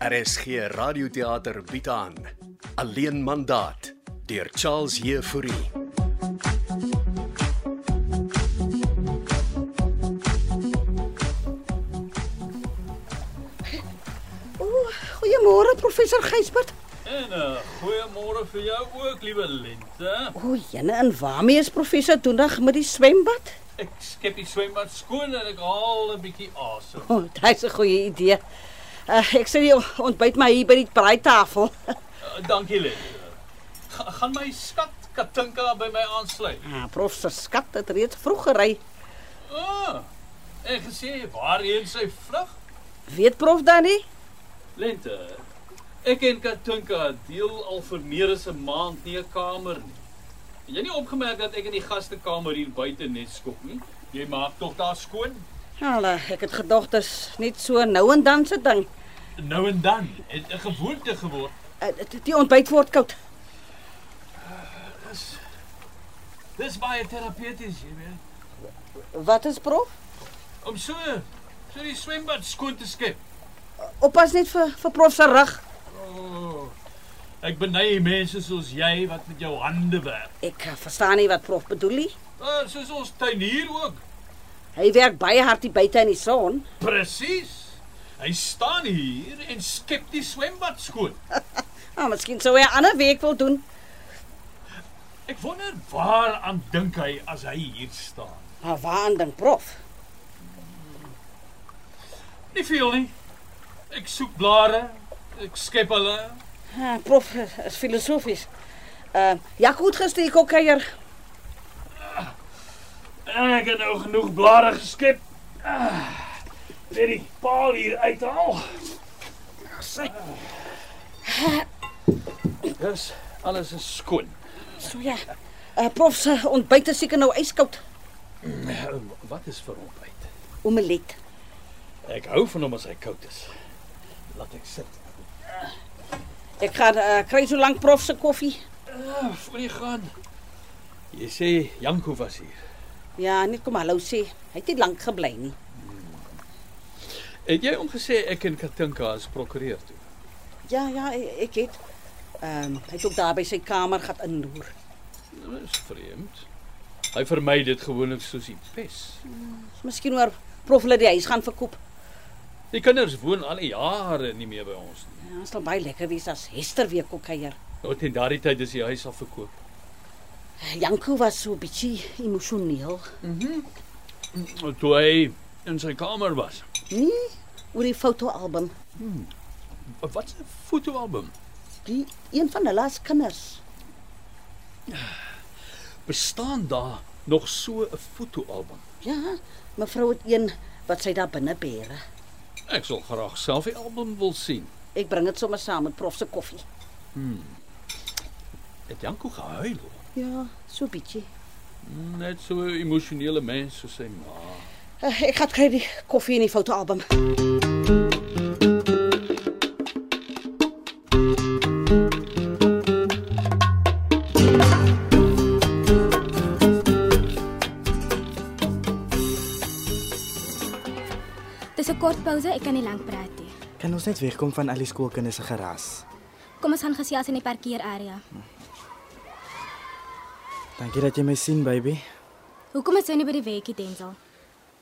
RSG Radioteater bied aan Alleen mandaat deur Charles Jefouri. Ooh, goeiemôre professor Gysbert. En 'n goeiemôre vir jou ook, liewe Lente. O, jene, en waarmee is professor toendag met die swembad? Ek skep die swembad skoon en ek haal 'n bietjie asem. O, oh, dit's 'n goeie idee. Uh, ek sê die ontbyt maar hier by die braaitafel. Uh, dankie, Lente. Ga, gaan my skat Katinka by my aansluit. Ah, prof se skat het reeds vroeg gery. Ah, en gesê waarheen sy vlug? Weet prof dan nie? Lente. Ek en Katinka deel al vir meer as 'n maand nie 'n kamer nie. Het Jy nie opgemerk dat ek in die gastekamer hier buite net skop nie? Jy maak tog daar skoon? Hulle, eh, ek het gedog dis net so nou en dan se ding. Nou en dan. Het 'n gewoonte geword. Uh, dit- die ontbyt word koud. Dis Dis baie terapeuties, jy weet. Wat is prof? Om so so die swembad skoon te skep. Oppas net vir vir prof se rug. Oh, ek beny mense soos jy wat met jou hande werk. Ek eh, verstaan nie wat prof bedoel nie. Uh, soos ons tuinier ook. Hy werk baie hard hier buite in die son. Presies. Hy staan hier en skep die swembad skoon. Ah, miskien sou hy 'n ander week wil doen. Ek wonder waar aan dink hy as hy hier staan. Maar waaraan dink prof? Nie veel nie. Ek soek blare. Ek skep hulle. Ah, prof is filosofies. Uh, ja, goed gister ek ook kuier. Ek het nou genoeg blare geskep. Ah, Net die paal hier uithaal. Sy, Dis alles is skoon. so ja. Uh, prof se ontbyt is seker nou yskoud. Wat is vir ontbyt? Omelet. Ek hou van hom as hy koud is. Laat ek sit. Ek gaan uh, kry so lank prof se koffie. Uh, voor jy gaan. Jy sê Janko was hier. Ja, net kom hallo sê. Hy het nie lank gebly nie. Het jy hom gesê ek en Katinka is prokureur toe? Ja, ja, e- ek het ehm um, hy het ook daar by sy kamer gat inloer. Dit is vreemd. Hy vermy dit gewoonlik soos die pes. So, miskien oor prof hulle die huis gaan verkoop. Die kinders woon al jare nie meer by ons nie. Ja, dit sal baie lekker wees as Hester weer kom kuier. Nou teen daardie tyd is die huis al verkoop. Eh, Janko was so bietjie emosioneel. Toe hy in sy kamer was. Nee, oor die fotoalbum. Wat 'n fotoalbum. Die een van hulle as kinders. Bestaan daar nog so 'n fotoalbum? Ja, mevrou het een wat sy daar binne bere. Ek sal graag self die album wil sien. Ek bring dit sommer saam met prof se koffie. Het Janko gehuil? hoor? Ja, so bietjie. Net so 'n emosionele mens soos sy ma. Uh, ek gaan kry die koffie in die fotoalbum. Dis 'n kort pouse, ek kan nie lank praat nie. Kan ons net wegkom van al die skoolkinders se geraas? Kom ons gaan gesels in die parkeerarea. Dankie dat jy my sien, baby. Hoekom is jy nie by die weekie Denzel?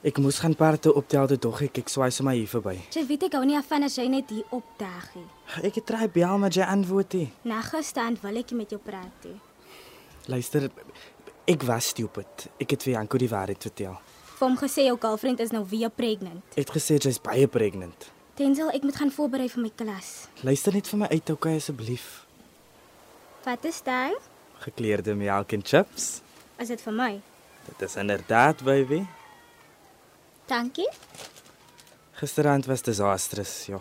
Ek moes gaan parte optel te dog ek, ek swaai sommer hier verby. Jy weet ek hou nie van as jy net hier opdag nie. Ek het try bel maar jy antwoord nie. Na gisterand wil ek nie met jou praat nie. Luister, ek was stupid. Ek het vir Janko die waarheid vertel. Vir hom gesê jou girlfriend is nou weer pregnant. Ek het gesê jy's baie pregnant. Denzel, ek moet gaan voorberei vir my klas. Luister net vir my uit, okay asseblief. Wat is dit? Gekleurde melk en chips. Is dit vir my? Dit is inderdaad, baby. Dankie. Gisterand was disastrous, ja.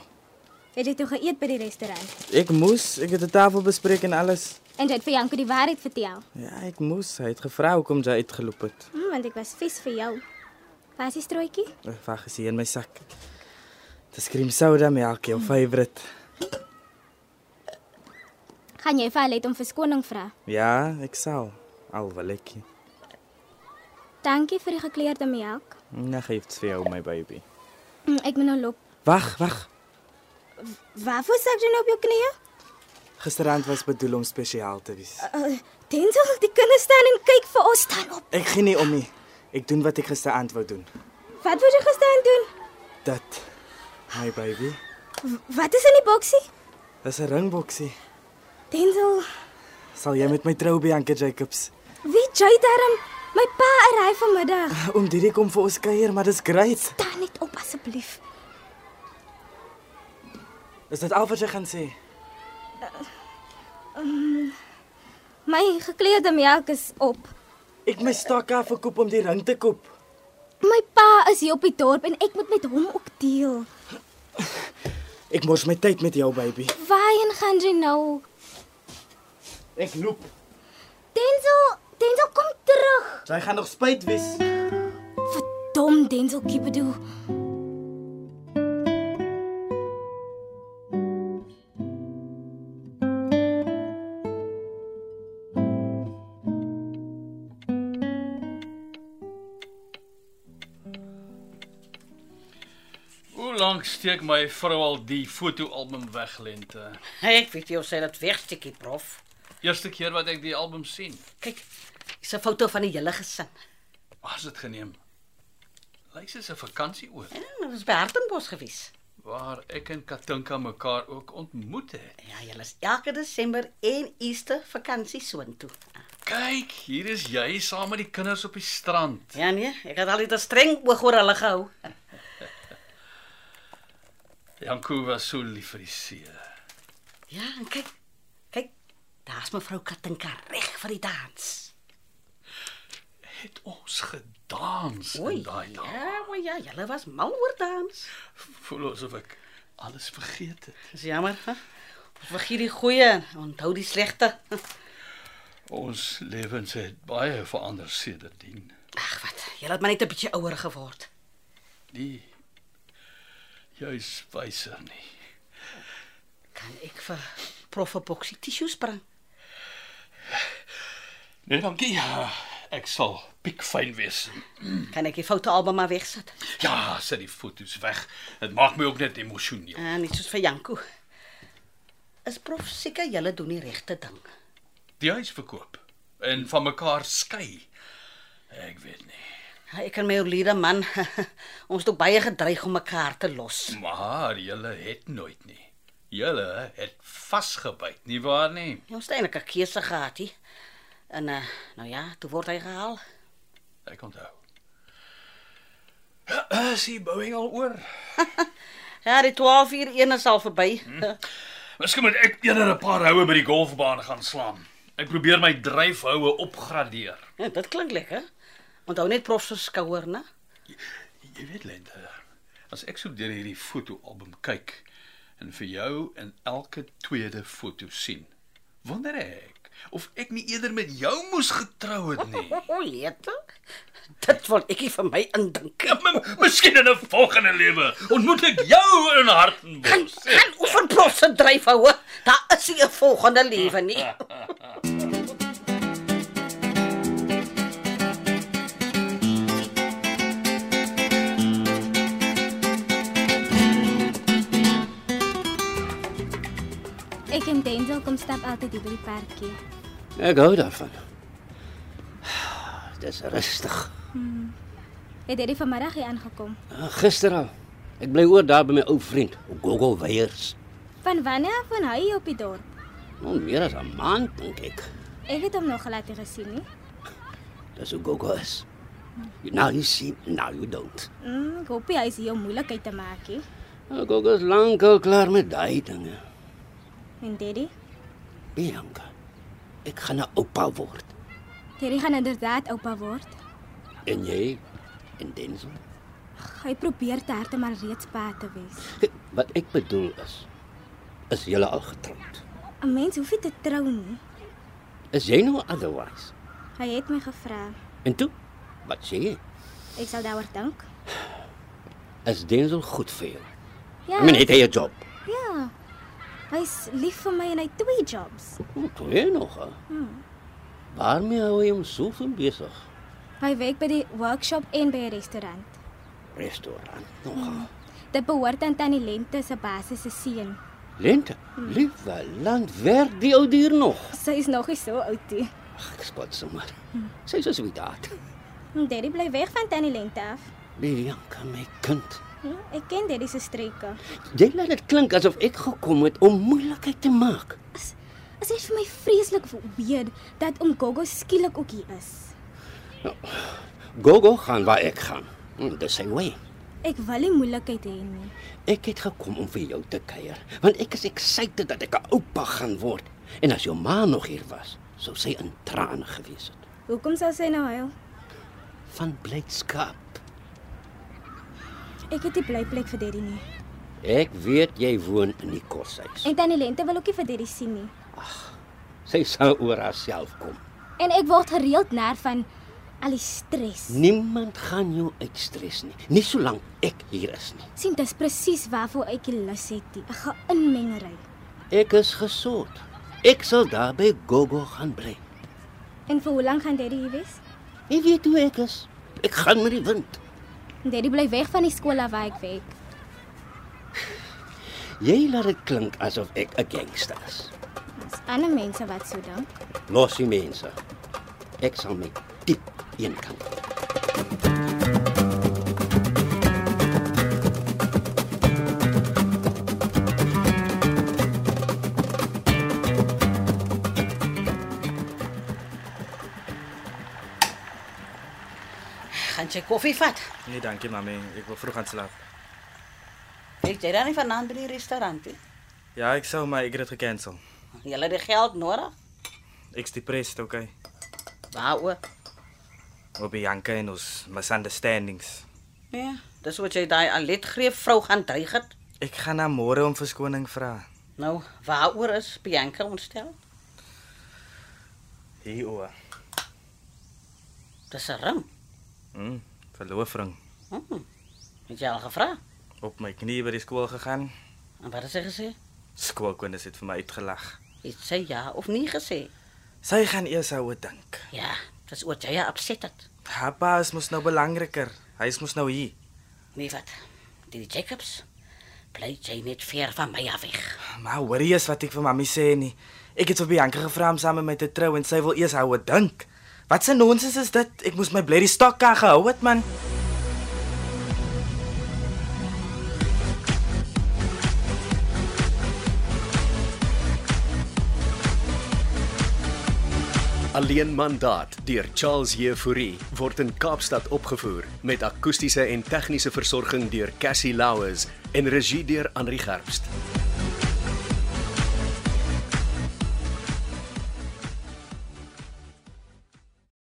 Het jy toe geëet by die restaurant? Ek moes, ek het 'n tafel bespreek en alles. En jy het vir Janko die waarheid vertel. Ja, ek moes. Hy het gevra hoekom jy uitgeloop het. Hm, want ek was vies vir jou. Was die strootjie? Ek wag as hier in my sak. Dis cream soda melk, jou favorite. Gaan jy vir Alet om verskoning vra? Ja, ek sal. Al wil ek. nie. Dankie vir die gekleurde melk. Mm, Nou gee dit vir jou my baby. Hm, Ek moet nou loop. Wag, wag. Waarvoor zak jy nou op jou knieë? Gisterand was bedoel om spesiaal te wees. Uh, Denzel, die kinders staan en kyk vir ons staan op. Ek gee nie om nie. Ek doen wat ek gisterand wou doen. Wat wou jy gisteraan doen? Dat my baby, W- Wat is in die boksie? dis 'n ringboksie. Denzel, Sal jy met my trou Bianca Jacobs? weet jy daarom my pa arrive vanmiddag. Om Didi kom vir ons kuier, maar dis great. Staan net op asseblief. Is dit al wat jy gaan sê? My gekleurde melk is op. Ek my stok af verkoop om die ring te koop. My pa is hier op die dorp en ek moet met hom ook deel. Ek mors my tyd met jou baby. Waarheen gaan jy nou? Ek loop. Denzel, Denzel kom terug. Jy gaan nog spyt wees. Verdom Denzel Kibedo. Hoe lank steek my vrou al die fotoalbum weg lente? Ek weet jy of sy dit wegsteekie, prof. Eerste keer wat ek die album sien. Kyk, dis 'n foto van die hele gesin. Waar's dit geneem? Lyk soos 'n vakansie oor En ons by Hartenbos gewees. waar ek en Katinka mekaar ook ontmoet het. Ja, julle is elke Desember en Easter vakansie soontoe. Kyk, hier is jy saam met die kinders op die strand. Ja nee, ek het al dit streng oog oor hulle gehou. Janko was so lief vir die see. Ja, en kyk. Kyk, daar's mevrou Katinka reg vir die dans. Het ons gedans in Oei. daai dag. Ja, maar ja, julle was mal oor dans. Voel asof ek alles vergeet het. Dis jammer. Hè? Ons vergeet die goeie en onthou die slegte. Ons lewens het baie verander sedertdien. Ag wat, julle het maar net 'n bietjie ouer geword. Nie juis wyser nie. Kan ek vir prof 'n boksie tissues bring? Nee, dankie. Ja, Ek sal piekfyn wees. Kan ek die foute album maar wegsit? Ja, sit die foto's weg. Dit maak my ook net emosioneel. Ah, net soos vir Janko. Is prof seker julle doen die regte ding? Die huis verkoop en van mekaar skei. Ek weet nie. Ja, Ek en my oulede man, ons het ook baie gedreig om mekaar te los. Maar julle het nooit nie. Julle het vasgebyt, nie waar nie? Ja, Ons het eintlik 'n keuse gehad hier. En uh, nou ja, toe word hy gehaal. Ek onthou. Ja, Is die bouing al oor? Ja, die 12 uur een is al verby. Miskien moet ek eerder 'n paar houe by die golfbaan gaan slaan. Ek probeer my dryfhoue opgradeer. Ja, dit klink lekker. Onthou net prof se skouer, né? Jy weet Lente, as ek so deur hierdie fotoalbum kyk en vir jou in elke tweede foto sien, wonder ek of ek nie eerder met jou moes getrou het nie. O, jette. Dit wil ek nie vir my indink. Ja, m- Miskien in 'n volgende lewe ontmoet ek jou in Gaan Hartenbos. gaan oefen prof se dryfhoue. Daar is nie 'n volgende lewe nie. Ek en Denzel kom stap altyd hier by die parkie. Ek hou daarvan. Dis rustig. Hmm. Het hierdie vanmiddag hier aangekom. Ah, Gister al. Ek bly oor daar by my ou vriend, Gogo Weyers. Van wanneer van hy hier op die dorp? Nou meer as 'n maand dink ek. Ek het hom nog glad nie gesien nie. Dis hoe Gogo is. You now you see, now you don't. Mm, ek hoop nie hy is hier om moeilikheid te maak nie. Nou, Gogo is lankal klaar met daai dinge. En Daddy, Bianca, ek gaan 'n oupa word. Daddy gaan inderdaad oupa word. En jy en Denzel. Hy probeer te hard om al reeds pa te wees. Kyk, Wat ek bedoel is, is julle al getroud? 'n Mens hoef nie te trou nie. Is jy nou otherwise? Hy het my gevra. En toe, wat sê jy? Ek sal daaroor dink. Is Denzel goed vir jou? Ja. I mean, het hy 'n job? Ja. Hy's lief vir my en hy het twee jobs. Hoe twee nog? Hè? Waarmee hou jy hom soveel besig? Hy werk by die workshop en by 'n restaurant. Restaurant nog. hè? Dit behoort aan tannie Lente se baas se seun. Lente, liewe land, werk die ou dier nog? Sy is nog nie so oud nie. Ag, ek spot sommer. Sy is so sweet. Daddy bly weg van tannie Lente af. Bianca, my kind. Hm, Ek ken Daddy se streke. Jy laat dit klink asof ek gekom het om moeilikheid te maak. Is is dit vir my vreeslik weird dat om Gogo skielik ook hier is. Gogo gaan waar ek gaan. Hm, Dis sy way. Ek wil nie moeilikheid hê nie. Ek het gekom om vir jou te kuier, want ek is excited dat ek 'n oupa gaan word. En as jou ma nog hier was, sou sy in trane gewees het Hoekom sou sy nou huil? van blydskap. Ek het nie blyplek vir Daddy nie. Ek weet jy woon in die koshuis. En tannie Lente wil ook nie vir Daddy sien nie. Sy sal oor haarself kom. En ek word gereeld nerf van al die stres. Niemand gaan jou uitstres nie, nie solank ek hier is nie. Sien, dis presies waarvoor ek die lus het, die- 'n geïnmengery. Ek is gesort. Ek sal daar by Gogo gaan bly. En vir hoe lank gaan Daddy hier wees? Jy weet hoe ek is. Ek gaan met die wind. Daddy bly weg van die skool af waar ek werk. Jy laat dit klink asof ek 'n gangster is. Dis ander mense wat so dink. Los die mense. Ek sal my diep een kant. Gaan jy koffie vat? Nee, dankie mami, ek wil vroeg gaan slaap. Weet jy dan nie vanaand by die restaurant nie? Ja, ek sou maar ek het dit gekansel. Jy het die geld nodig. Ek's depressed, okay. Waaroor? Oor Bianca en ons misunderstandings. Ja, dis wat jy daai Alet greep vrou gaan dreig het. Ek gaan haar môre om verskoning vra. Nou, waaroor is Bianca ontstel? Hieroor. Dis 'n ring. Hm, verloofring. Hm. Het jy al gevra? Op my knie by die skool gegaan. En wat het sy gesê? Skoolkinders het vir my uitgelag. Het sy ja of nee gesê? Sy gaan eers hoe dink. Ja, dis oor jy haar opset het. Haar pa is mos nou belangriker. Hy is mos nou hier. Nee wat? Die Jacobs bly jy net ver van my af weg. Maar worry is wat ek vir mami sê nie. Ek het vir Bianca gevra om saam met my te trou en sy wil eers hou wat dink. Wat 'n nonsens is dit? Ek moes my blerrie stokka gehou het man. Alleen mandaat deur Charles Jefouri word in Kaapstad opgevoer met akoestiese en tegniese versorging deur Cassie Louws en regie deur Henri Gerst.